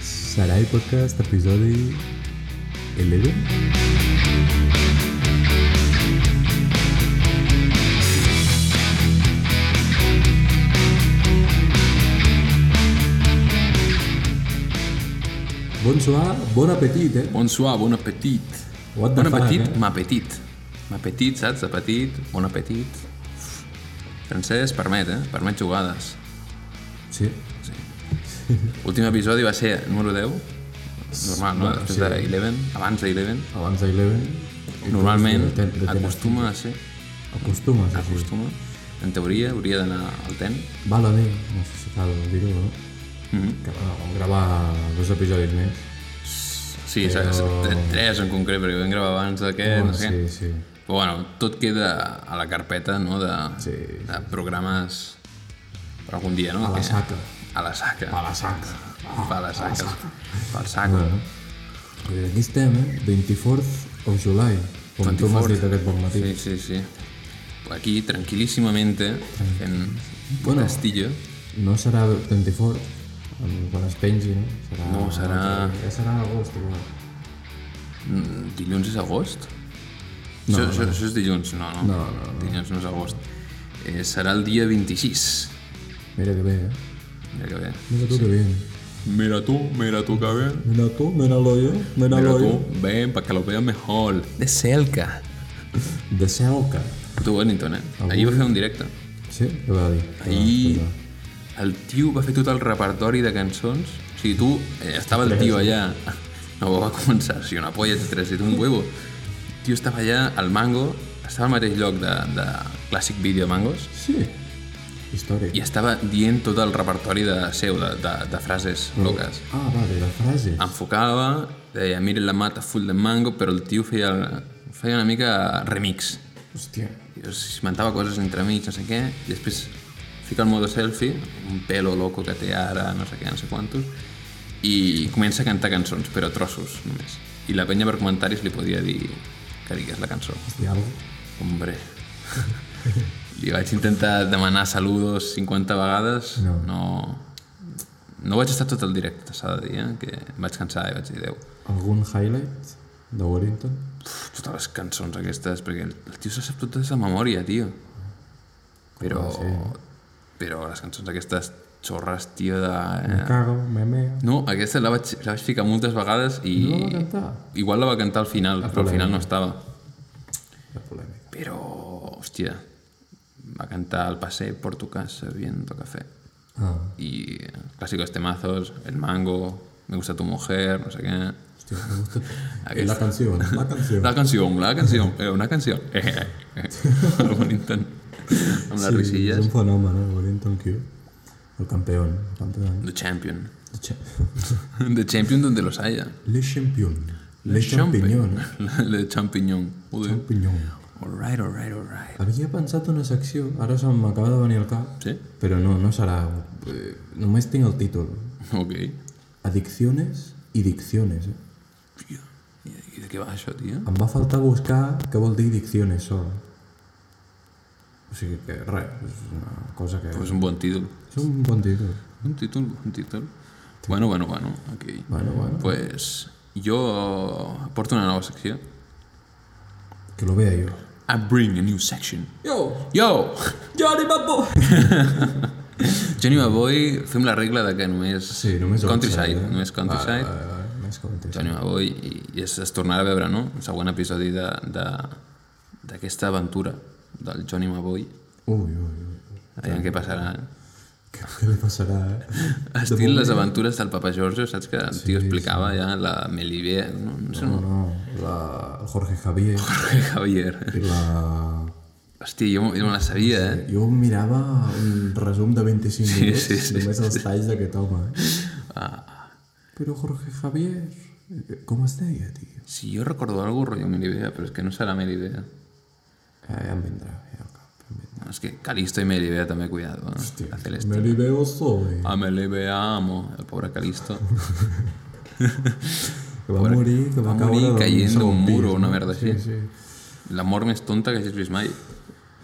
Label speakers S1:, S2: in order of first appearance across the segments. S1: Sarai Podcast, episodi 11. Bonsoir, bon apetit, eh?
S2: Bonsoir, bon appetit.
S1: What the
S2: bon appetit,
S1: fuck, eh?
S2: m'apetit. M'apetit, saps? De petit, bon apetit. Francesc permet, eh? Permet jugades.
S1: Sí.
S2: Últim episodi va ser número 10. Normal, no?
S1: Bueno,
S2: Després
S1: sí.
S2: de 11, abans de 11.
S1: Abans de 11. i
S2: Normalment
S1: després de- de- de-
S2: acostuma a ser,
S1: Acostuma, sí, sí.
S2: acostuma. En teoria hauria d'anar al 10.
S1: Val a dir, no sé si cal dir-ho, no?
S2: Mhm.
S1: Que bueno, vam gravar dos episodis més.
S2: Sí,
S1: Però-
S2: Però... tres en concret, perquè vam gravar abans d'aquest, no sé què.
S1: sí, sí.
S2: Però bueno, tot queda a la carpeta, no?, de,
S1: Sí.
S2: de programes per algun dia, no?
S1: A la
S2: Que-
S1: saca.
S2: A la saca.
S1: A la saca.
S2: Per la saca. Per saco.
S1: Bueno, eh, aquí estem, eh? 24th of July, com tu m'has
S2: 24th.
S1: dit aquest bon matí.
S2: Sí, sí, sí. Aquí, tranquil·líssimamente, fent
S1: Bueno.
S2: bueno. castillo.
S1: No serà 24th, amb- quan es pengi, no? Serà...
S2: No, serà-
S1: Ja serà agost, igual.
S2: Mm, Dilluns és agost? No, això, no. Això, això és dilluns, no, no.
S1: No, no, no.
S2: Dilluns no és agost. Eh, serà el dia 26.
S1: Mira que bé, eh?
S2: Mira que bé.
S1: Mira tu que bé.
S2: Mira tú, mira tú que bé.
S1: Mira tu, mira l'ollo, mira
S2: Mira
S1: l'ollo.
S2: tú, ven, para que lo veas mejor. De cerca.
S1: De Selca.
S2: Tu, Wellington, eh? Ahir va fer un directe.
S1: Sí? Què va dir? Ah,
S2: Ahir el tio va fer tot el repertori de cançons. O sigui, tu, eh, estava el tio allà... No, va començar, si una polla de tres, i tu un huevo. El tio estava allà al Mango, estava al mateix lloc de, de Clàssic Video Mangos,
S1: Sí. Històric.
S2: i estava dient tot el repertori de seu, de, de, de frases loques.
S1: Ah, vale, la frase.
S2: Enfocava, deia, miren la mata full de mango, però el tio feia, feia una mica remix.
S1: Hòstia.
S2: Jo s'inventava coses entremig, no sé què, i després fica el modo selfie, un pelo loco que té ara, no sé què, no sé quantos, i comença a cantar cançons, però trossos només. I la penya per comentaris li podia dir que digués la cançó.
S1: Hòstia, algo.
S2: Hombre. li vaig intentar demanar saludos 50 vegades,
S1: No.
S2: no... no... No vaig estar tot el directe, s'ha de dir, eh? que em vaig cansar i vaig dir, adéu.
S1: Algun highlight de Warrington?
S2: Pff, totes les cançons aquestes, perquè el, el tio se sap totes de memòria, tio. Però...
S1: Ah,
S2: Però les cançons aquestes xorres, tio, de...
S1: Me cago, me meo.
S2: eh. No, aquesta la vaig, la vaig ficar moltes vegades i...
S1: No Ah, la va cantar?
S2: Igual la va cantar al final, però al final no estava.
S1: La polèmica.
S2: Però, hòstia, va cantar el passé por tu casa viendo café.
S1: Ah,
S2: I clàssicos temazos, el mango, me gusta tu mujer, no sé què...
S1: hòstia, m'ha gustat. La canció, la canció.
S2: La canció, la canció, eh, una canció. Eh, eh, eh. El Wellington, amb les sí,
S1: És
S2: risilles.
S1: un fenomen, eh? Warrington Q. El campeón. El campeón.
S2: The Champion.
S1: El cha-
S2: The Champion donde los haya.
S1: Le champion. Le champignon. eh?
S2: The Champignon. Joder.
S1: Champignon.
S2: Alright, alright, alright.
S1: Havia pensat una secció, ara se m'acaba de venir al cap,
S2: Sí?
S1: però no, no serà... eh, Només tinc el títol.
S2: Ok.
S1: Adicciones i dicciones. Eh?
S2: Tio, I, I de què va això, tio?
S1: Em va faltar buscar què vol dir dicciones sol. O sigui que res, és una cosa que...
S2: Pues un bon títol.
S1: És un bon títol.
S2: Un títol, un títol. Bueno, bueno, bueno. Ok.
S1: Bueno, bueno,
S2: Pues jo porto una nova secció.
S1: que lo vea jo.
S2: I bring a new section.
S1: Yo,
S2: Yo!
S1: Johnny Babo!
S2: Johnny Mavoy, fem la regla de que només...
S1: Sí, només
S2: Countryside,
S1: outside, eh?
S2: només Countryside.
S1: Vale, vale, vale, Més countryside.
S2: Johnny Mavoy, i, i es, es tornarà a veure, no? El següent episodi de- de- d'aquesta de, aventura del Johnny Mavoy.
S1: Ui, ui, ui.
S2: Aviam què passarà. eh?
S1: Què, què li passarà, eh?
S2: Estil les aventures del papa Giorgio, saps que el tio explicava ja la Melibé, no, no sé, no.
S1: No, no, la... el Jorge Javier
S2: Jorge Javier.
S1: i la...
S2: Hòstia, jo, jo me la sabia, eh?
S1: Jo mirava un resum de 25
S2: Sí,
S1: minuts,
S2: sí, sí,
S1: només els talls d'aquest home. Eh?
S2: Ah,
S1: Però Jorge Javier, com es deia, tio?
S2: si jo recordo alguna cosa, rotllo Melibé, però és que no serà Melibé.
S1: Ja, ja em vindrà, ja al cap. Em vindrà.
S2: No, és que Calisto i Melibé també, cuidado. Eh? La Celeste. Ah,
S1: Me li veo soy.
S2: A Melibé amo, el pobre Calisto.
S1: Que va morir, que va,
S2: va
S1: caure
S2: morir
S1: d'un
S2: caient d'un
S1: segon pis,
S2: muro, una
S1: no?
S2: merda
S1: sí,
S2: així.
S1: Sí,
S2: L'amor més tonta que hagis vist mai.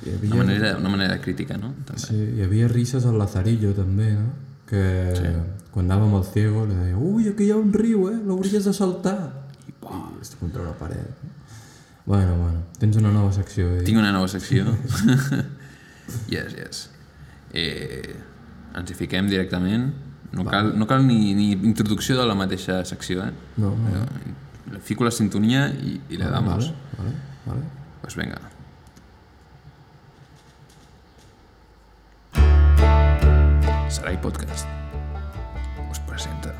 S1: Hi
S2: Una
S1: havia,
S2: manera, una manera crítica, no? També.
S1: sí, hi havia risses al Lazarillo, també, no? Que que quan anàvem al ciego li deia ui, aquí hi ha un riu, eh? L'hauries de saltar. I, I està contra una paret. Bueno, bueno, tens una nova secció. Eh?
S2: Tinc una nova secció. yes, yes. Eh, ens hi fiquem directament. No cal, no cal ni, ni introducció de la mateixa secció, eh?
S1: No, no,
S2: Le Fico la sintonía y, y le damos.
S1: vale, vale, vale.
S2: Pues venga. Sarai Podcast os presenta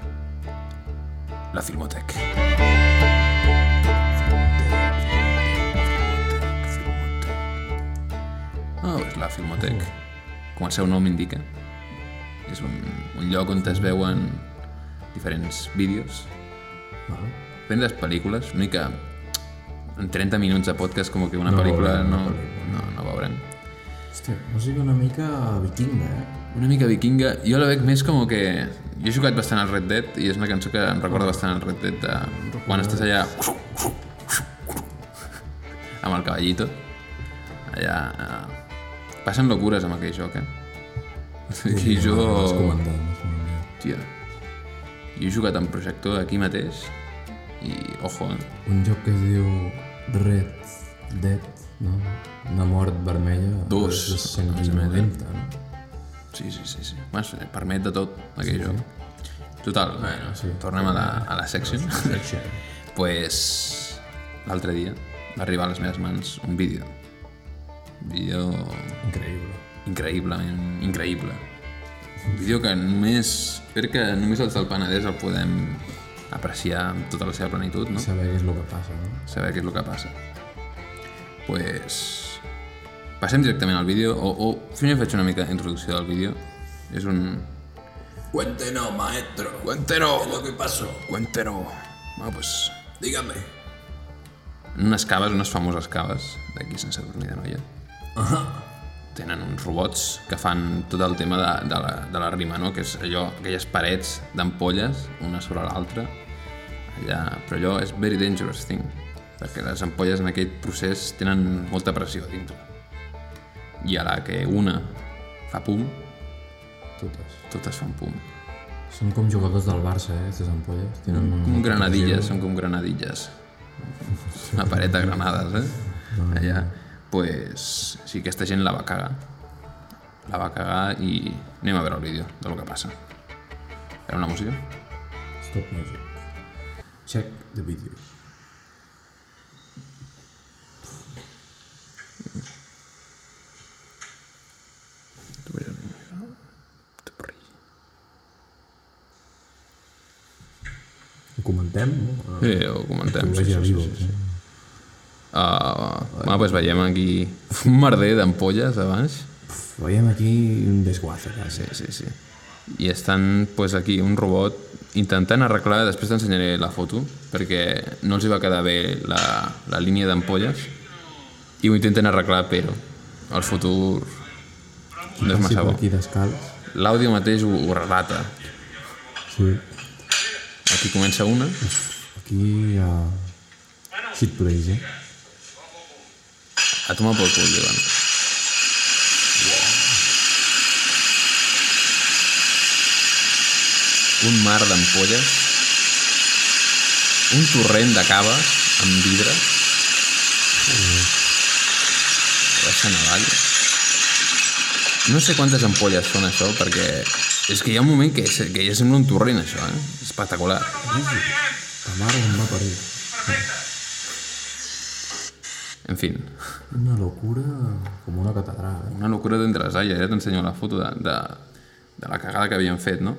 S2: la Filmotec. Ah, és la Filmotec. Com el seu nom indica, és un, un lloc on es veuen diferents vídeos
S1: vale.
S2: Depèn de les pel·lícules, una mica... En 30 minuts de podcast, com que una no pel·lícula
S1: veurem
S2: no,
S1: una
S2: no, no veurem.
S1: Hòstia, música una mica vikinga, eh?
S2: Una mica vikinga, jo la veig més com que... Jo he jugat bastant al Red Dead i és una cançó que em recorda bastant al Red Dead de... quan estàs allà... amb el cavallito. Allà... Eh... Passen locures amb aquell joc, eh? I jo...
S1: Has comentat, has comentat.
S2: Hòstia. Jo he jugat amb projector aquí mateix i... Ojo, eh?
S1: Un joc que es diu Red Dead, no? Una mort vermella.
S2: Dos.
S1: És de 190, no?
S2: Sí, sí, sí. sí. Bueno, se permet de tot, aquell sí, joc. Total, bueno, sí. tornem a la, a la secció. pues, l'altre dia va arribar a les meves mans un vídeo. Un vídeo
S1: Increïble.
S2: increïble, increïble. Un vídeo que només, crec que només els del Penedès el podem apreciar amb tota la seva plenitud, no?
S1: Saber què és el que passa, no?
S2: saber què és el que passa. Pues... Passem directament al vídeo, o, o primer faig una mica d'introducció del vídeo. És un...
S3: Cuéntenos, maestro.
S2: Cuéntero,
S3: ¿Qué pasó?
S2: cuéntero. Bueno, Ah, pues...
S3: Dígame.
S2: En unes caves, unes famoses caves, d'aquí sense dormir de noia, tenen uns robots que fan tot el tema de, de, la, de la rima, no? Que és allò, aquelles parets d'ampolles, una sobre l'altra, allà... Però allò és very dangerous thing, perquè les ampolles en aquest procés tenen molta pressió a dintre. I a la que una fa pum,
S1: Totes.
S2: totes fan pum.
S1: Són com jugadors del Barça, eh, aquestes ampolles. Tenen un...
S2: Com granadilles, són com granadilles. Una paret de granades, eh? Allà. Pues, sí, aquesta gent la va cagar. La va cagar i anem a veure el vídeo del que passa. Era una música? Mm.
S1: Stop music. Check the video. Ho comentem, no?
S2: Sí, Eh, ho comentem. Sí, sí, sí.
S1: vivo. eh? Sí, sí.
S2: Uh, bueno, pues veiem aquí un merder d'ampolles a baix.
S1: Veiem aquí un desguace, quasi.
S2: Sí, sí, sí. I estan pues, aquí un robot intentant arreglar, després t'ensenyaré la foto, perquè no els hi va quedar bé la, la línia d'ampolles i ho intenten arreglar, però el futur no és
S1: Sí,
S2: massa
S1: per
S2: bo.
S1: aquí descalç.
S2: L'àudio mateix ho, ho relata.
S1: Sí.
S2: Aquí comença una,
S1: Aquí hi ha... Hit plays, eh?
S2: a tomar pel cul, diuen. Un mar d'ampolles, un torrent de cava amb vidre, baixen avall. No sé quantes ampolles són això, perquè és que hi ha un moment que, se- que ja sembla un torrent, això, eh? Espectacular.
S1: La mare em va parir.
S2: En fi,
S1: Una locura com una catedral, eh?
S2: una locura d'entre les aires, ja t'ensenyo la foto de, de, de la cagada que havien fet, no?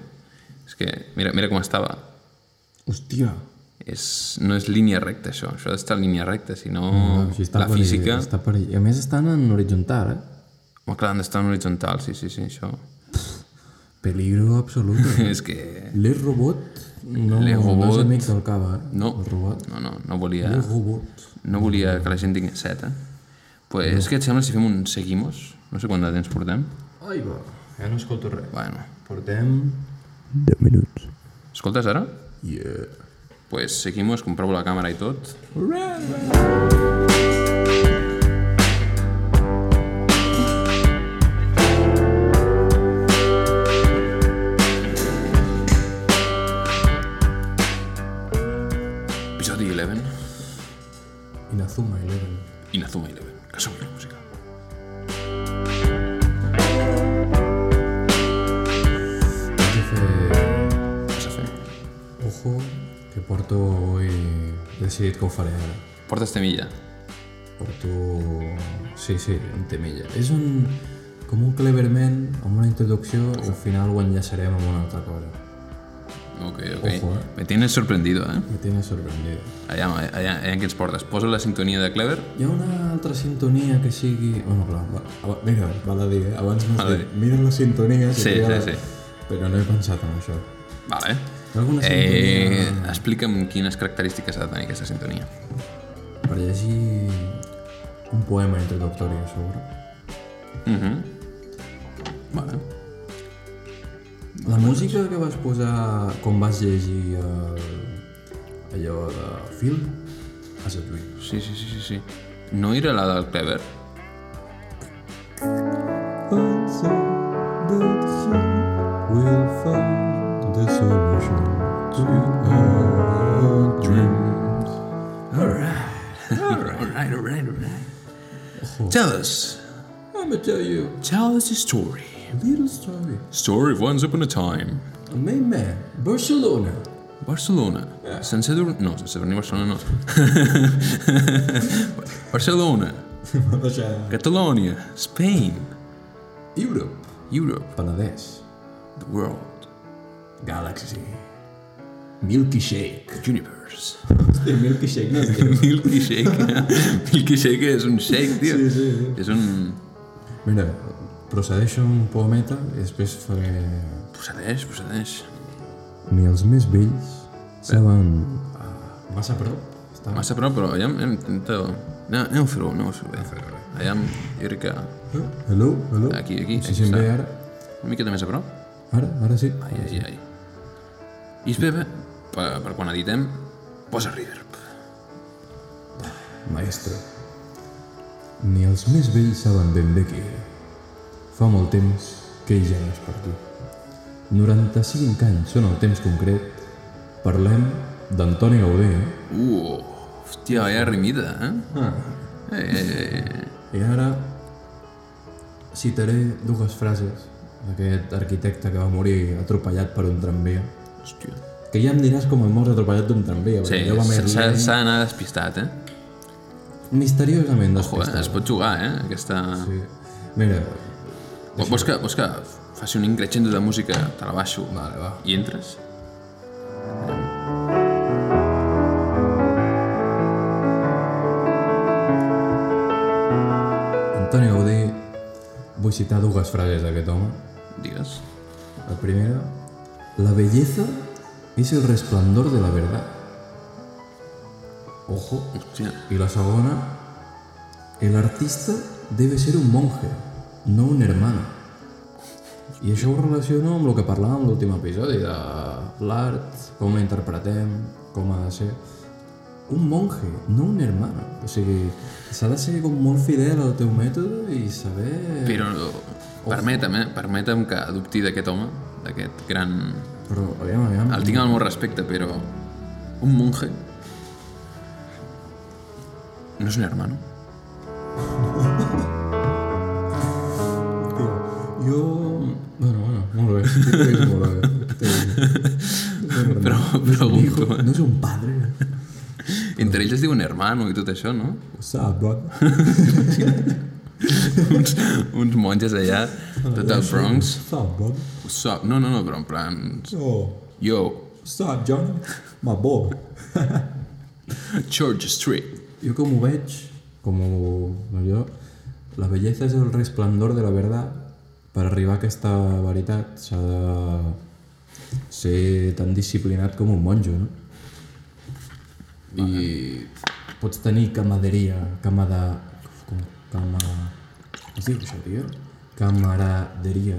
S2: És que, mira, mira com estava.
S1: eh? Hòstia!
S2: És, no és línia recta, això. Això ha d'estar en línia recta, si no...
S1: No, sí, està
S2: la
S1: perill,
S2: física...
S1: Està perill. A més estan en horitzontal, eh?
S2: Home, clar, han d'estar en horitzontal, sí, sí, sí, això.
S1: Peligro absolut.
S2: és que...
S1: L'Es robot no,
S2: L'E
S1: no
S2: robot.
S1: és amic del cava, eh?
S2: No,
S1: El robot.
S2: no, no, no volia...
S1: L'E robot.
S2: No volia que la gent tingués set, eh? Pues, és que et sembla si fem un seguimos? No sé quant de temps portem.
S1: Ai, va. Ja no escolto res.
S2: Bueno,
S1: Portem... 10 minuts.
S2: escoltes ara?
S1: Yeah.
S2: Pues seguimos, comprovo la càmera i tot.
S1: decidit que ho faré ara.
S2: Portes temilla.
S1: Porto... Sí, sí, un temilla. És un... com un cleverment, amb una introducció, i al final ho enllaçarem amb una altra cosa.
S2: Ok, ok.
S1: Ojo, eh.
S2: Me tienes sorprendido, eh?
S1: Me tiene sorprendido.
S2: Allà, allà, allà que ens portes. Posa la sintonia de Clever.
S1: Hi ha una altra sintonia que sigui... Bueno, clar, va, aba- mira, val a dir, eh? abans m'has
S2: Vale.
S1: dit, mira la sintonia... que
S2: Sí,
S1: té la-
S2: sí, sí.
S1: Però no he pensat en això.
S2: Vale.
S1: Hi ha alguna
S2: Eh,
S1: sintonia
S2: explica'm quines característiques ha de tenir aquesta sintonia.
S1: per llegir un poema introductori a sobre.
S2: Mhm. Vale.
S1: La música que vas posar quan vas llegir el... allò de Phil has de lluir.
S2: Sí, sí, sí, sí, sí. No era la del Clever.
S1: Will find the solution to our dreams.
S2: alright, alright, alright. Tell us.
S1: I'm gonna tell you
S2: Tell us a story.
S1: a little story.
S2: Story of once upon a time.
S1: A main man, Barcelona.
S2: Barcelona. Sense dur... No, sense venir a Barcelona no. Barcelona.
S1: Va deixar
S2: Catalonia. Spain.
S1: Europe.
S2: Europe.
S1: Penedès.
S2: The world.
S1: Galaxy. Milky Shake.
S2: The universe.
S1: Hòstia, Milky Shake no és greu.
S2: Milky Shake. Milky Shake és un shake, tio.
S1: Sí, sí, sí.
S2: És un...
S1: Mira, procedeixo un poemeta i després faré...
S2: Procedeix, procedeix.
S1: Ni els més vells saben... Ah, massa prop. Està...
S2: Massa prop, però allà hem intentat... Anem, anem a fer-ho, anem a fer-ho bé. Allà, jo crec que
S1: Hello, hello.
S2: Aquí, aquí,
S1: Si
S2: aquí
S1: se'm
S2: està.
S1: ve ara.
S2: una miqueta més a prop.
S1: Ara, ara sí.
S2: Ai, ai, ai. I espera, espera, per, per quan editem, posa reverb.
S1: Maestro. Ni els més vells saben ben bé qui era. Fa molt temps que ell ja no és per tu. 95 anys són el temps concret. Parlem d'Antoni Gaudí, eh?
S2: Uh, hòstia, vaya rimida, eh?
S1: Ah.
S2: Eh, eh, eh.
S1: I ara citaré dues frases d'aquest arquitecte que va morir atropellat per un tramvia.
S2: Hòstia.
S1: Que ja em diràs com em mors atropellat d'un tramvia.
S2: Sí,
S1: perquè allò va més
S2: s'ha
S1: lent.
S2: s'ha d'anar despistat, eh?
S1: Misteriosament
S2: Joder,
S1: despistat.
S2: es pot jugar, eh? Aquesta...
S1: Sí. Mira,
S2: Vol- Vols que, vols que faci un increixendo de música, te la baixo
S1: vale, va.
S2: i entres?
S1: Antoni Gaudí, vull citar dues frases d'aquest home.
S2: Digues.
S1: La primera, la belleza es el resplandor de la verdad. Ojo.
S2: Hòstia.
S1: I la segona, el artista debe ser un monje, no un hermano. I això ho relaciono amb el que parlàvem l'últim episodi, de l'art, com la interpretem, com ha de ser. Un monje, no un hermano. O sigui, s'ha de ser com molt fidel al teu mètode i saber...
S2: Però permetem, eh? Permetem que dubti d'aquest home, d'aquest gran...
S1: Però, aviam, aviam...
S2: El tinc al meu respecte, però... Un monje... No és un hermano?
S1: Hòstia, Jo... Bueno, bueno, molt bé. Sí que ho veig molt bé. Té- té-
S2: Però pregunto, eh?
S1: No és un padre.
S2: Entre ells es diuen hermano i tot això, no?
S1: What's up, bro?
S2: uns, uns monges allà, tot el Bronx.
S1: What's up, bro?
S2: So, no, no, no, però en plan...
S1: Oh,
S2: Yo,
S1: what's up, John? My boy.
S2: Church Street.
S1: Jo com ho veig, com ho... No, jo, la bellesa és el resplendor de la verdad. Per arribar a aquesta veritat s'ha de ser tan disciplinat com un monjo, no? I pots tenir camaderia, cama de... Com, cama... Com es diu això, tio? Camaraderia,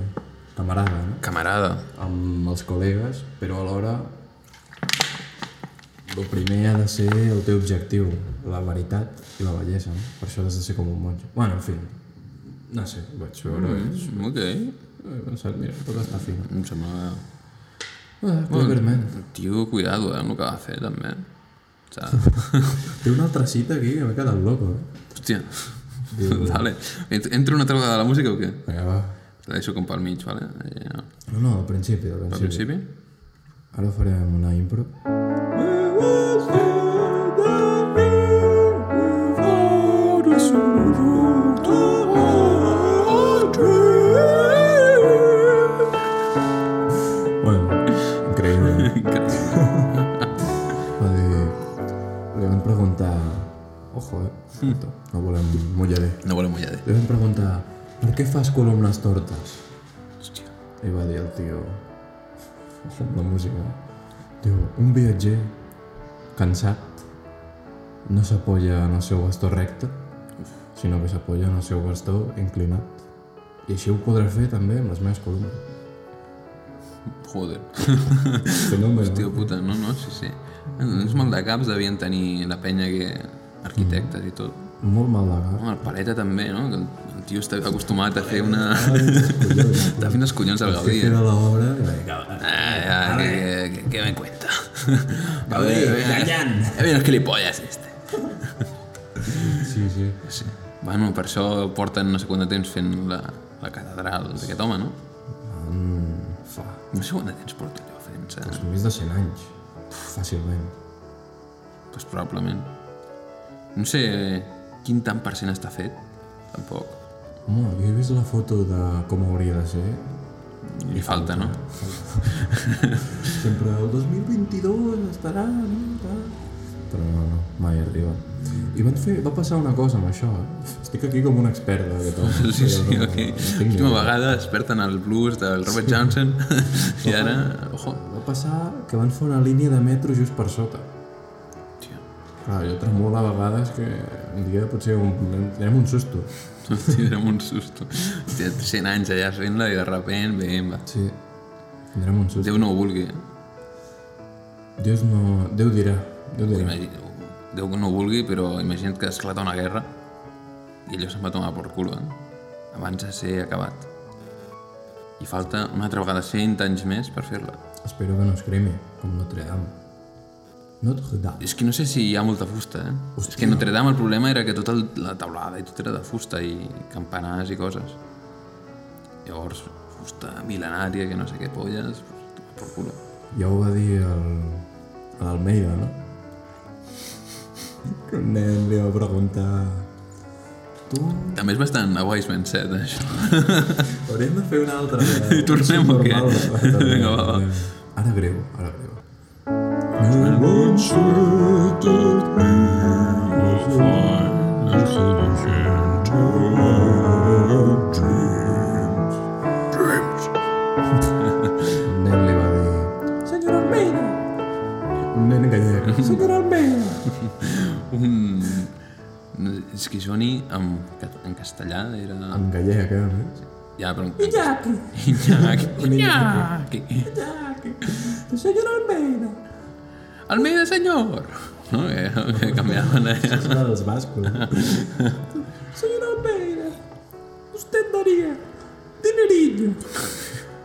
S1: camarada, no?
S2: Camarada.
S1: amb els col·legues, però alhora el primer ha de ser el teu objectiu, la veritat i la bellesa. No? Per això has de ser com un monjo. Bueno, en fi, no sé, vaig veure... Mm.
S2: Mm, ok.
S1: He pensat, mira, tot està fina.
S2: Em sembla...
S1: Ah, cleverment.
S2: Tio, cuidado, eh, amb el que va fer, també. S'ha-
S1: Té una altra cita aquí que m'he quedat loco, eh?
S2: Hòstia. Vale. Ent- Entra una altra vegada a la música o què?
S1: Vinga, va.
S2: Te deixo com pel mig, vale? Eh, Ja.
S1: No, no, al principi, al
S2: Al
S1: principi.
S2: principi?
S1: Ara farem una impro. ¿eh? ¿eh? preguntar per què fas columnes tortes? I va dir el tio, la música, diu, un viatger cansat no s'apoya en el seu bastó recte, sinó que s'apoya en el seu bastó inclinat. I així ho podré fer també amb les meves columnes.
S2: Joder.
S1: Fenomen.
S2: Hòstia puta, no, no, sí, sí. Uns mal de caps devien tenir la penya que... arquitectes i tot.
S1: Molt mal de cap.
S2: Home, el Paleta també, no? Que El tio està acostumat a fer una... Està fins als collons al Gaudí, eh?
S1: Era l'obra i va dir, "Cabrón".
S2: Ah, ya, que, que, que me cuenta. A
S3: ver, Dayan.
S2: a ver, que li polles este.
S1: Sí, sí.
S2: Sí. Bueno, per això porten no sé quant de temps fent la, la catedral d'aquest home, no?
S1: Mm, fa
S2: No sé quant de temps porta allò fent-se.
S1: doncs, més de 100 anys. Fàcilment.
S2: Pues probablement. No sé quin tant per cent està fet, tampoc.
S1: Home, jo he vist la foto de com hauria de ser.
S2: Li falta, no?
S1: Sempre el 2022 estarà, no? Tal. Però no, no, mai arriba. I van fer, va passar una cosa amb això, eh? Estic aquí com un expert d'aquest home.
S2: Sí, sí,
S1: però
S2: ok.
S1: no, no tinc ni
S2: L'última
S1: idea.
S2: vegada desperten el blues del Robert Johnson i ara... Ojo,
S1: Va passar que van fer una línia de metro just per sota.
S2: tio.
S1: Clar, jo tremolo a vegades que un dia potser un, tindrem un susto.
S2: Tindrem un susto. Hòstia, 100 anys allà fent-la i de repent, bé, va.
S1: Sí, tindrem un susto.
S2: Déu no ho vulgui. eh?
S1: Déu no... Déu dirà, Déu dirà.
S2: Imagina, Déu que no ho vulgui, però imagina't que esclata una guerra i allò se'n va tomar per cul, eh? abans de ser acabat. I falta una altra vegada 100 anys més per fer-la.
S1: Espero que no es creme, com Notre Dame. Notre Dame.
S2: És que no sé si hi ha molta fusta, eh? Hòstia. És que a Notre Dame el problema era que tota el- la taulada i tot era de fusta i campanars i coses. Llavors, fusta mil·lenària, que no sé què polles, pues, per culo.
S1: Ja ho va dir el... a l'Almeida, no? Que un nen li va preguntar... Tu,
S2: També és bastant a Wise Man Set, això.
S1: hauríem de fer una altra... I
S2: tornem o què? Vinga, va, va.
S1: Ara greu, ara greu. No van ser tot Un nen li va dir... Senyor Almeida! Un nen gallec. Senyor Almeida!
S2: Un... no sé, És que Johnny en, ca- en castellà era...
S1: En gallec, eh? a més.
S2: Ja, però... Iñaki! Iñaki! Iñaki!
S1: Senyor Almeida!
S2: Almeida, senyor! No, que, que canviaven allà.
S1: És una dels bascos. Senyor Almeida, usted daria dinerillo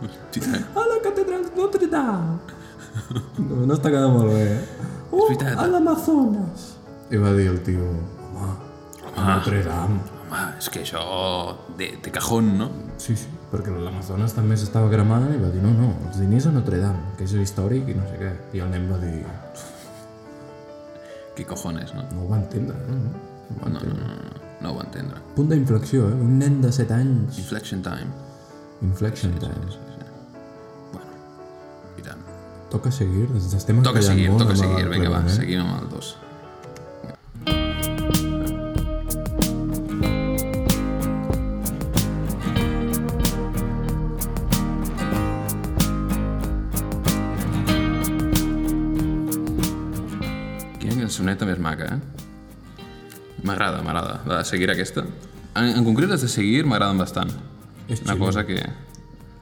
S2: Hòstia,
S1: a la catedral de Notre Dame. No, no està quedant molt bé, eh? O
S2: veritat.
S1: a l'Amazones. I va dir el tio, home, home. Notre Dame.
S2: Home, és que això... De, de cajón, no?
S1: Sí, sí, perquè l'Amazones també s'estava cremant i va dir, no, no, els diners a Notre Dame, que és històric i no sé què. I el nen va dir,
S2: Que cojones, no?
S1: no ho va entendre, eh, no? no, no, ho va
S2: No,
S1: entendre.
S2: no, no, no ho va entendre.
S1: Punt d'inflexió, eh? Un nen de 7 anys.
S2: Inflection time.
S1: Inflexion time.
S2: Sí, sí. Bueno, i tant.
S1: Toca seguir, ens estem
S2: Toca
S1: encallant
S2: seguir,
S1: molt
S2: toca
S1: amb
S2: seguir.
S1: el eh?
S2: Vinga, va,
S1: clarinet.
S2: seguim amb el dos. Quina cançoneta més maca, eh? M'agrada, m'agrada. La de seguir aquesta. En, en concret, les de seguir m'agraden bastant.
S1: És
S2: Una
S1: xilling.
S2: cosa que...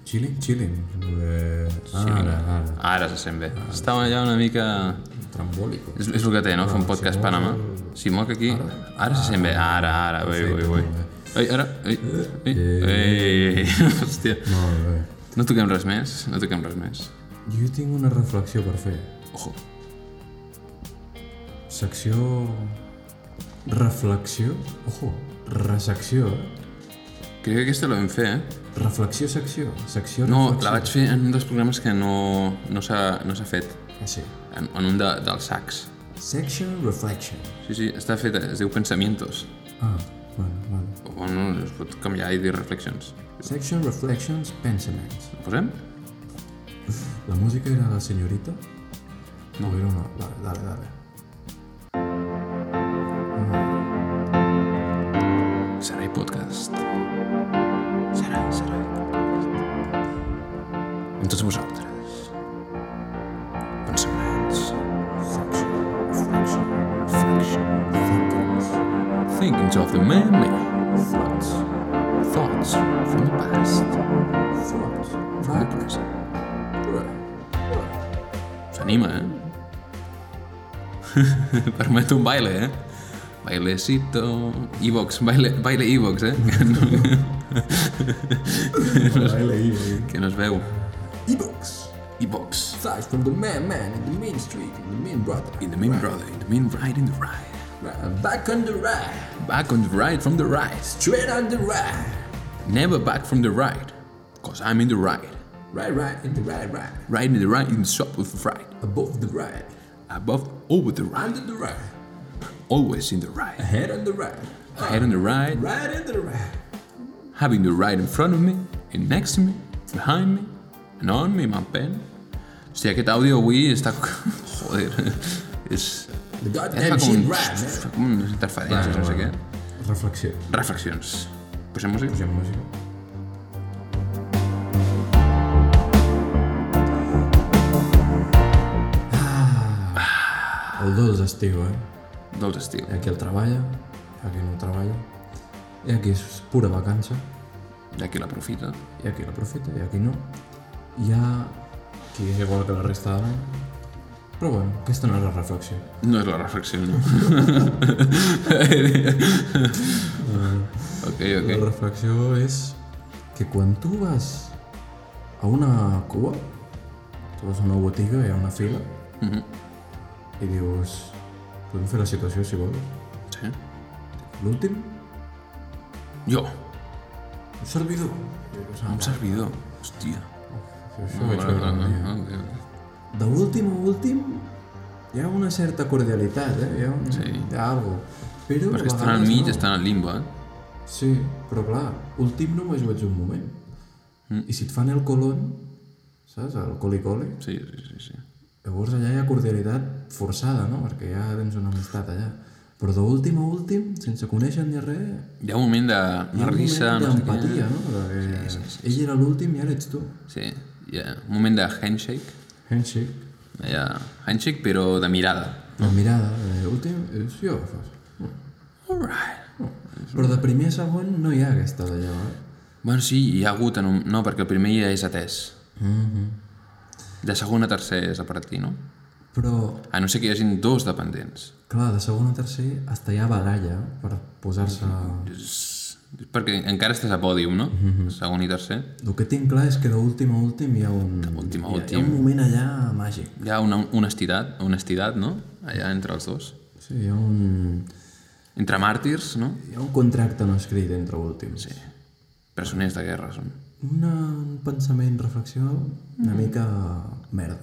S1: Chilling, chilling. Eh, ara, ara.
S2: Ara se sent bé. Estava allà una mica...
S1: Trambòlico.
S2: És, és el que té, no? Fer un podcast Panamà. Si moc aquí... Ah, Ara se sent bé. Ara, ara. Ui, ui, ui. Ai, ara... Ai, ai, ai. Hòstia.
S1: Molt bé.
S2: No toquem res més. No toquem res més.
S1: Jo tinc una reflexió per fer.
S2: Ojo.
S1: Secció... Reflexió? Ojo, resecció.
S2: Crec que aquesta la vam fer, eh?
S1: Reflexió, secció. Secció,
S2: No,
S1: reflexió.
S2: la vaig fer en un dels programes que no, no s'ha no s'ha fet.
S1: Ah, sí.
S2: En, en un de, dels sacs.
S1: Section, reflection.
S2: Sí, sí, està feta. Es diu Pensamientos.
S1: Ah, bueno, vale.
S2: O bueno, es pot canviar i dir Reflections.
S1: Section, reflections, pensaments.
S2: Ho posem?
S1: La música era la senyorita? No, era una... Dale, dale, dale.
S2: Sarai Podcast. en tots vosaltres. Pensaments, reflection, reflection, reflection, thinkings, thinkings of the man-man, thoughts, thoughts from the past, thoughts from the present. S'anima, eh? Permet un baile, eh? Bailecito, Evox, baile, baile Evox, eh? Que no,
S1: Vale, leí, güey.
S2: que no es veu.
S3: E-books.
S2: Evox.
S3: Size from the man, man in the main street, in the main brother.
S2: In the main brother, in the main right, in the right.
S3: Right. Back on the right,
S2: Back on the right from the right.
S3: straight on the right.
S2: Never back from the right. Cause I'm in the right.
S3: Right, right, in the right, right.
S2: Right in the right, in the shop with the right.
S3: Above the right,
S2: Above, over the right.
S3: under the right,
S2: Always in the right.
S3: head on the right,
S2: Head on the right,
S3: right in the right.
S2: having the right in front of me, and next to me, behind me, and on me, my pen. Hòstia, aquest àudio avui està... Joder, és...
S3: The
S2: Fa
S3: goddamn shit
S2: com,
S3: right,
S1: ¿eh?
S3: man.
S2: fa com unes interferències, no sé Pues què.
S1: Reflexió.
S2: Reflexions. Posem música?
S1: Posem música. Ah, El dos d'estiu, eh?
S2: Dolç estil.
S1: Hi ha qui el treballa, hi ha qui no el treballa, hi ha qui és pura vacança,
S2: Ja que l'aprofita.
S1: hi ha qui l'aprofita, hi ha qui no, hi ha qui és igual que la resta de l'any. Però bueno, aquesta no és la reflexió.
S2: No és la reflexió, no. ok,
S1: La
S2: ok.
S1: reflexió és que quan tu vas a una cua, tu vas a una botiga, hi ha una fila,
S2: Mhm.
S1: i dius, podem fer la situació si vols.
S2: Sí.
S1: L'últim,
S2: Jo,
S1: un servidor. I dius, ah,
S2: un servidor. Hòstia.
S1: si això ho vaig veure un dia.
S2: ok, ok.
S1: De l'últim a últim, hi ha una certa cordialitat, eh? Hi ha, un...
S2: Sí.
S1: hi ha algo. Però,
S2: Però és que
S1: a
S2: estan al
S1: vegades
S2: mig,
S1: no.
S2: estan al limbo, eh?
S1: Sí, però clar, últim només ho ets un moment.
S2: Mm.
S1: I si et fan el colon, saps? El coli-coli,
S2: Sí, sí, sí. sí.
S1: Llavors allà hi ha cordialitat forçada, no? Perquè ja tens una amistat allà. Però d'últim a últim, sense conèixer ni res,
S2: Hi ha un moment de
S1: hi ha
S2: una
S1: un
S2: risa,
S1: moment
S2: no sé què.
S1: d'empatia, no? Perquè sí, sí, sí, ell era l'últim i ara ets tu.
S2: Sí, hi ha un moment de handshake.
S1: Handshake.
S2: Hi ha handshake, però de mirada.
S1: La mirada, eh, últim, és jo, fas.
S2: Alright.
S1: Però de primer a segon no hi ha aquesta d'allò, eh?
S2: Bueno, sí, hi ha hagut... En un... No, perquè el primer ja és atès.
S1: Mhm.
S2: De segon a tercer és a partir, no?
S1: Però,
S2: A no ser que hi hagin dos dependents.
S1: clar, de segon a tercer, hasta hi ha baralla per posar-se...
S2: És- Perquè encara estàs a pòdium, no?
S1: Mhm.
S2: Segon i tercer.
S1: El que tinc clar és que d'últim a últim hi ha un...
S2: últim
S1: hi ha- Hi
S2: a
S1: ha
S2: últim.
S1: un moment allà màgic.
S2: Hi ha una honestitat, honestitat, no? Allà entre els dos.
S1: Sí, hi ha un...
S2: Entre màrtirs, no?
S1: Hi ha un contracte no escrit entre últims. Sí.
S2: Presoners de guerra són.
S1: Una, un pensament, reflexió,
S2: Mm.
S1: una mica merda.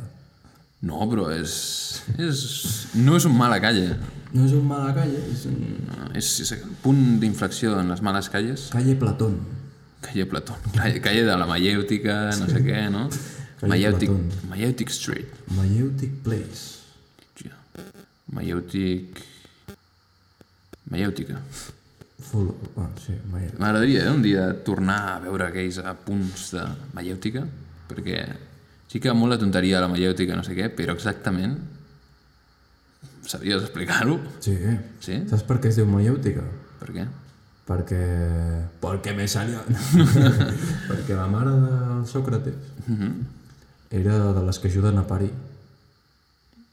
S2: No, però és... és no és un mal a calle.
S1: No és un mala calle, és un
S2: No, és, és el punt d'inflexió en les males calles.
S1: calle Platón.
S2: Calle Platón. Calle, calle de la Mayéutica, no sé què, no?
S1: Calle
S2: Mayéutic,
S1: Platón.
S2: Mayéutic Street.
S1: Mayeutic Place.
S2: Hòstia. Mayéutic... Mayéutica.
S1: Full... Ah, sí, Mayeutic.
S2: M'agradaria eh, un dia tornar a veure aquells apunts de Mayèutica, perquè sí que molt la tonteria de la Mayèutica, no sé què, però exactament sabries explicar-ho?
S1: Sí. eh.
S2: Sí?
S1: Saps per què es diu Mayeutica?
S2: Per què?
S1: Perquè... Perquè me salió... Perquè la mare del Sòcrates era de les que ajuden a parir.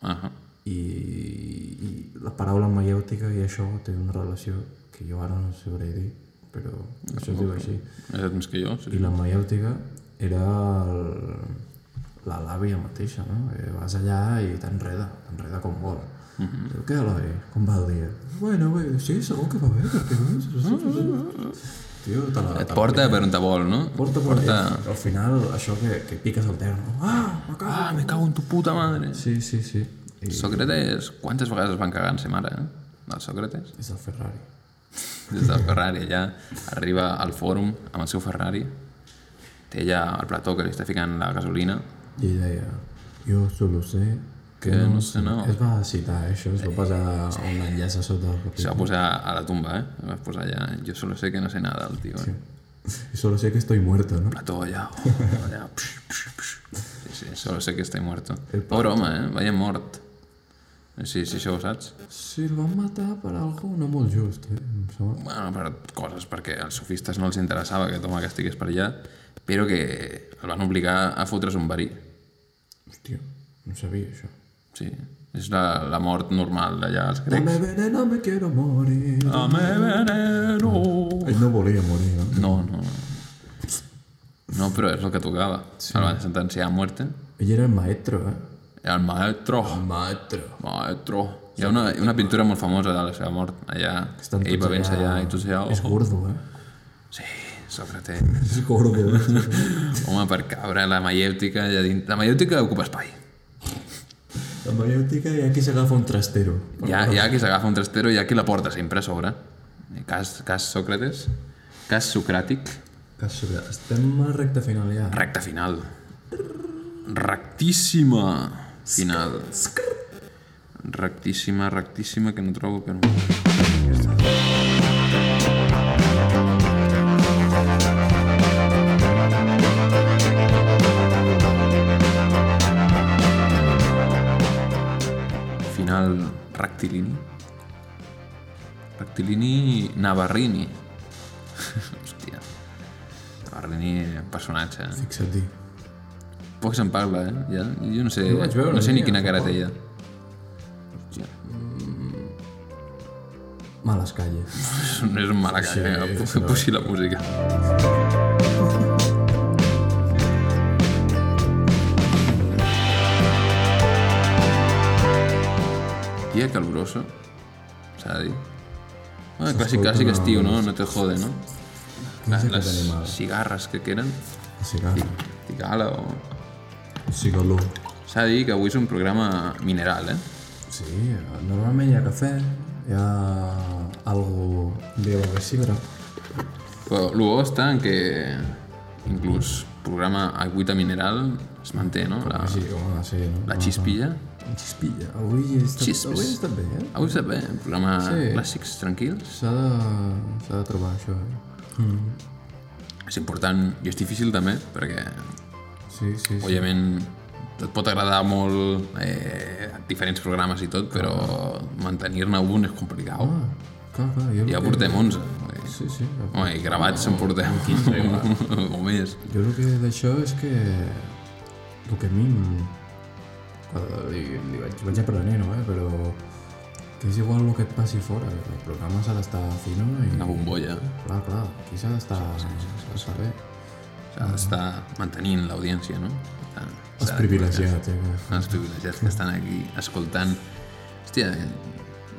S2: Uh -huh.
S1: I, i la paraula maièutica i això té una relació que jo ara no sabré dir, però això es diu així.
S2: Més que jo, sí.
S1: I la maièutica era el, la làbia mateixa, no? Que vas allà i t'enreda, t'enreda com vol. Mm -hmm. Diu, què, Eloi? Com va el dia? Bueno, bé, sí, segur que va bé, perquè... Tio, te la...
S2: Et porta per on te vol, no?
S1: porta, porta. Al final, això que, que piques al terra, no? Ah, me cago!
S2: Ah, me cago en tu puta madre.
S1: Sí, sí, sí. I
S2: Sòcrates, quantes vegades es van cagar en sa mare, eh? El Sòcrates.
S1: és el Ferrari.
S2: Des del Ferrari, allà arriba al fòrum amb el seu Ferrari. Té allà el plató que li està ficant la gasolina.
S1: I ella deia, jo solo sé que,
S2: Que no sé, no.
S1: Es va citar, eh, això, es va posar un enllaç a sota del
S2: Se
S1: paper.
S2: va posar a la tumba, ¿eh? Se va a posar allá. Yo solo sé que no sé nada, el tío. ¿eh?
S1: I solo sé que estoy muerto, no?
S2: Plató allá. allá, oh, psh, psh, psh. sí, solo sé que estic muerto.
S1: El
S2: Pobre home, eh? Vaya mort. Sí, sí, això ho saps.
S1: Si el van matar per algo no molt just, eh? Em sembla.
S2: Bueno, per coses, perquè als sofistes no els interessava que Toma que estigués per allà, però que el van obligar a fotre's un verí.
S1: Hòstia, no sabia això.
S2: Sí, és la, la mort normal d'allà als
S1: Dame
S2: grecs.
S1: veneno, me quiero morir.
S2: Dame veneno.
S1: Ah. Ell no volia morir, no?
S2: No, no, no. No, però és el que tocava. Sí. El van sentenciar a muerte.
S1: Ell era el maestro, eh?
S2: El maestro.
S1: Maestro.
S2: Maestro. Hi ha una, una pintura molt famosa de la seva mort, allà.
S1: Estan
S2: Ell
S1: tots
S2: bevent allà i tots allà.
S1: És
S2: Oh,
S1: gordo, eh?
S2: sí, Sócrates.
S1: És gordo, eh?
S2: Home, per cabre, la maièutica allà dins. La maièutica ocupa espai.
S1: La maiòtica hi ha qui s'agafa un trastero.
S2: Hi ha, hi ha qui s'agafa un trastero i hi ha qui la porta sempre a sobre. Eh, Cas, cas Sòcrates, cas socràtic,
S1: Que sobre... Estem a recta final ja.
S2: recta final. Rectíssima final. Rectíssima, rectíssima, que no trobo que no... Final rectilini. Rectilini Navarrini. Hòstia. Navarrini, personatge. eh?
S1: Fixa't-hi.
S2: Poc se'n parla, eh? Ja, jo no sé,
S1: Jo vaig veure
S2: no sé
S1: un
S2: ni
S1: dia,
S2: quina cara
S1: fa
S2: té ja.
S1: Males calles.
S2: No és un mala cara,
S1: Sí,
S2: sí,
S1: sí,
S2: que posi la música. Dia caloroso, s'ha de dir. Bueno, clàssic, clàssic estiu, no? No te jode, no?
S1: Quins
S2: Les
S1: aquest animal?
S2: cigarres que queden,
S1: Cigala.
S2: cigala o...
S1: Cigaló.
S2: S'ha de dir que avui és un programa mineral, eh?
S1: Sí, normalment hi ha cafè, hi ha algo de la sidra.
S2: Però el bo està en que inclús programa Agüita Mineral es manté, no? La,
S1: Sí, com ha de ser, no?
S2: la xispilla.
S1: Xispilla. Avui he estat,
S2: Xispes.
S1: avui he estat bé, eh?
S2: Avui està bé, un programa
S1: Sí.
S2: clàssics tranquils.
S1: S'ha de, s'ha de trobar això, eh?
S2: És important i és difícil també perquè,
S1: Sí, sí, sí.
S2: òbviament, et pot agradar molt eh, diferents programes i tot, però mantenir-ne un és complicat.
S1: Ah, clar, clar. Jo,
S2: Ja
S1: el que-
S2: portem 11. vull dir.
S1: Sí, sí. clar.
S2: Home, i gravats en portem 15 o més.
S1: Jo el que d'això és que... El que a mi... em- eh, Li, li vaig, vaig aprenent, eh? Però que és igual el que et passi eh, fora. El programa s'ha d'estar fino e i...
S2: Una bombolla.
S1: Clar, clar, aquí s'ha d'estar... S'ha d'estar bé.
S2: S'ha d'estar mantenint l'audiència, no? Per tant, s'ha
S1: Els
S2: de-
S1: privilegiats, eh?
S2: els privilegiats que estan aquí escoltant. Hòstia,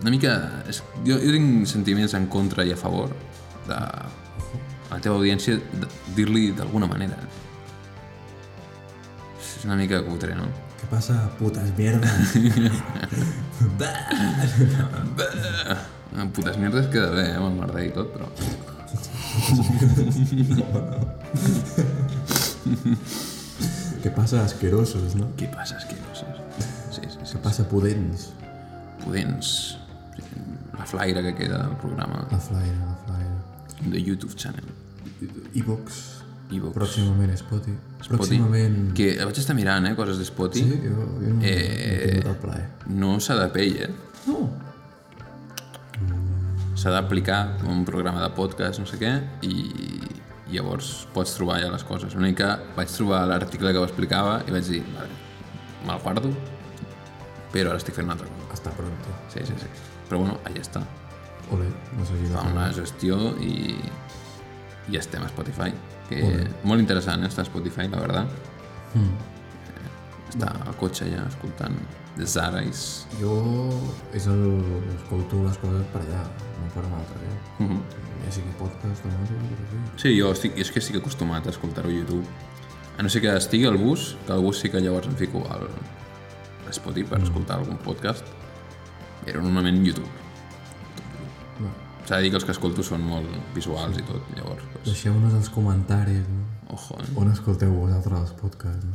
S2: una mica... És, jo, jo tinc sentiments en contra i a favor de a la teva audiència de- dir-li d'alguna manera. És una mica cutre, no?
S1: Què passa, putes mierdes?
S2: En Eh, putes mierdes queda bé, eh, amb el merder i tot, però...
S1: Què passa, asquerosos, no?
S2: Què passa, esquinosos? Sí, sí, sí.
S1: Què passa, pudents?
S2: Pudents. La flaire que queda del programa
S1: La flaire, la flaire.
S2: de YouTube channel.
S1: Evox.
S2: Evox.
S1: Pròximament Spotify.
S2: Spotify.
S1: Pròximament...
S2: Que vaig estar mirant, eh, coses de Spotify.
S1: Sí, jo, jo no, eh... no he tingut el plaer.
S2: no s'ha de pell, eh?
S1: No.
S2: S'ha d'aplicar com un programa de podcast, no sé què, i llavors pots trobar ja les coses. Una mica vaig trobar l'article que ho explicava i vaig dir, vale, me'l guardo, però ara estic fent una altra cosa.
S1: Hasta pronto.
S2: Sí, sí, sí. Però bueno, allà està.
S1: Ole, no sé
S2: Fa
S1: si
S2: una gestió i, i estem a Spotify. Que molt interessant, eh, està a Spotify, la veritat. Està al cotxe ja escoltant The Zarais.
S1: Jo és el... escolto les coses per allà, no per una altra, eh? Mm -hmm. Ja sigui podcast o no, sí, sí.
S2: Sí, jo estic, és que estic acostumat a escoltar-ho a YouTube. A no ser que estigui al bus, que al bus sí que llavors em fico al a Spotify per escoltar algun podcast, però normalment YouTube.
S1: No.
S2: S'ha de dir que els que escolto són molt visuals i tot, llavors... Pues,
S1: Deixeu-nos els comentaris, no?
S2: ojo, eh?
S1: On escolteu vosaltres els podcasts, no?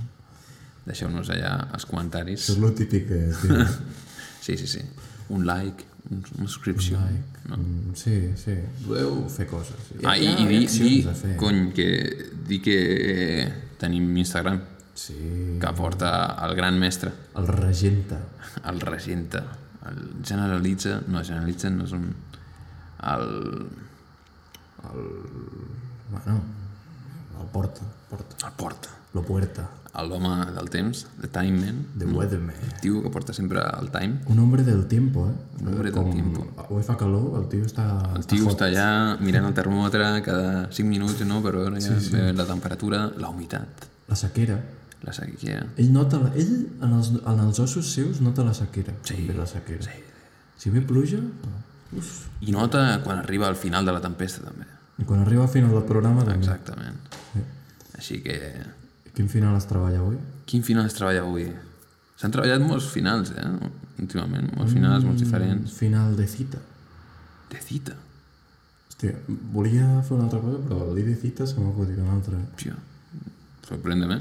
S2: Deixeu-nos allà els comentaris.
S1: És lo típic que és, tio.
S2: Sí, sí, sí. Un like, un, una subscripció. Like. No?
S1: Mm, sí, sí. Podeu fer coses. Sí.
S2: Ah, i,
S1: Hi ha
S2: i di,
S1: accions
S2: di,
S1: a fer.
S2: cony, que, di que tenim Instagram.
S1: Sí.
S2: que porta el gran mestre,
S1: El regenta.
S2: el regenta, el generalitza, no, generalitza no és un... El,
S1: Bueno, el porta, porta.
S2: el porta,
S1: Lo puerta.
S2: l'home del temps, The Time Man,
S1: The Weatherman.
S2: el tio que porta sempre el Time,
S1: Un hombre del tiempo, eh?
S2: Un hombre del tiempo.
S1: Hoy fa calor, el tio està...
S2: El tio està allà mirant el termòmetre cada 5 minuts, no?, per veure ja eh, la temperatura, la humitat,
S1: La sequera.
S2: la sequera.
S1: Ell nota... La... Ell, en els, en els ossos seus, nota la sequera. Sí. Ve la sequera. Sí. Si ve pluja... Uf.
S2: I nota quan arriba al final de la tempesta, també.
S1: I quan arriba al final del programa, també.
S2: Exactament. Així que...
S1: Quin final es treballa avui?
S2: Quin final es treballa avui? S'han treballat molts finals, eh? Últimament, molts finals, molts diferents.
S1: Final de cita.
S2: De cita,
S1: Hòstia, volia fer una altra cosa, però al dir de cita se m'ha acudit una altra.
S2: tio. Sorprèn-me.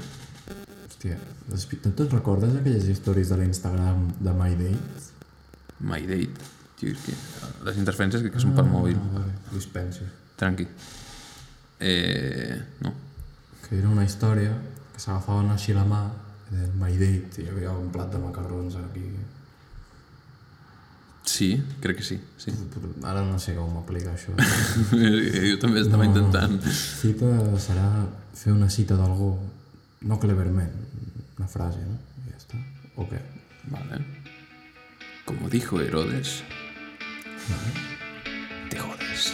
S1: Hòstia, despi- no te'n recordes aquelles històries de l'Instagram de My Dates?
S2: My date. Tio, és que les interferències crec que són pel mòbil.
S1: Ah, vale, dispensi.
S2: Tranqui. Eh... No.
S1: Que era una història que s'agafaven així la mà del My Date i hi havia un plat de macarrons aquí.
S2: Sí, crec que sí. Sí.
S1: Ara no sé com aplica això.
S2: jo també estava
S1: No, no.
S2: intentant.
S1: Cita serà fer una cita d'algú, no cleverment, una frase, no? I ja està. O què?
S2: Vale. Como dijo Herodes. Te jodes.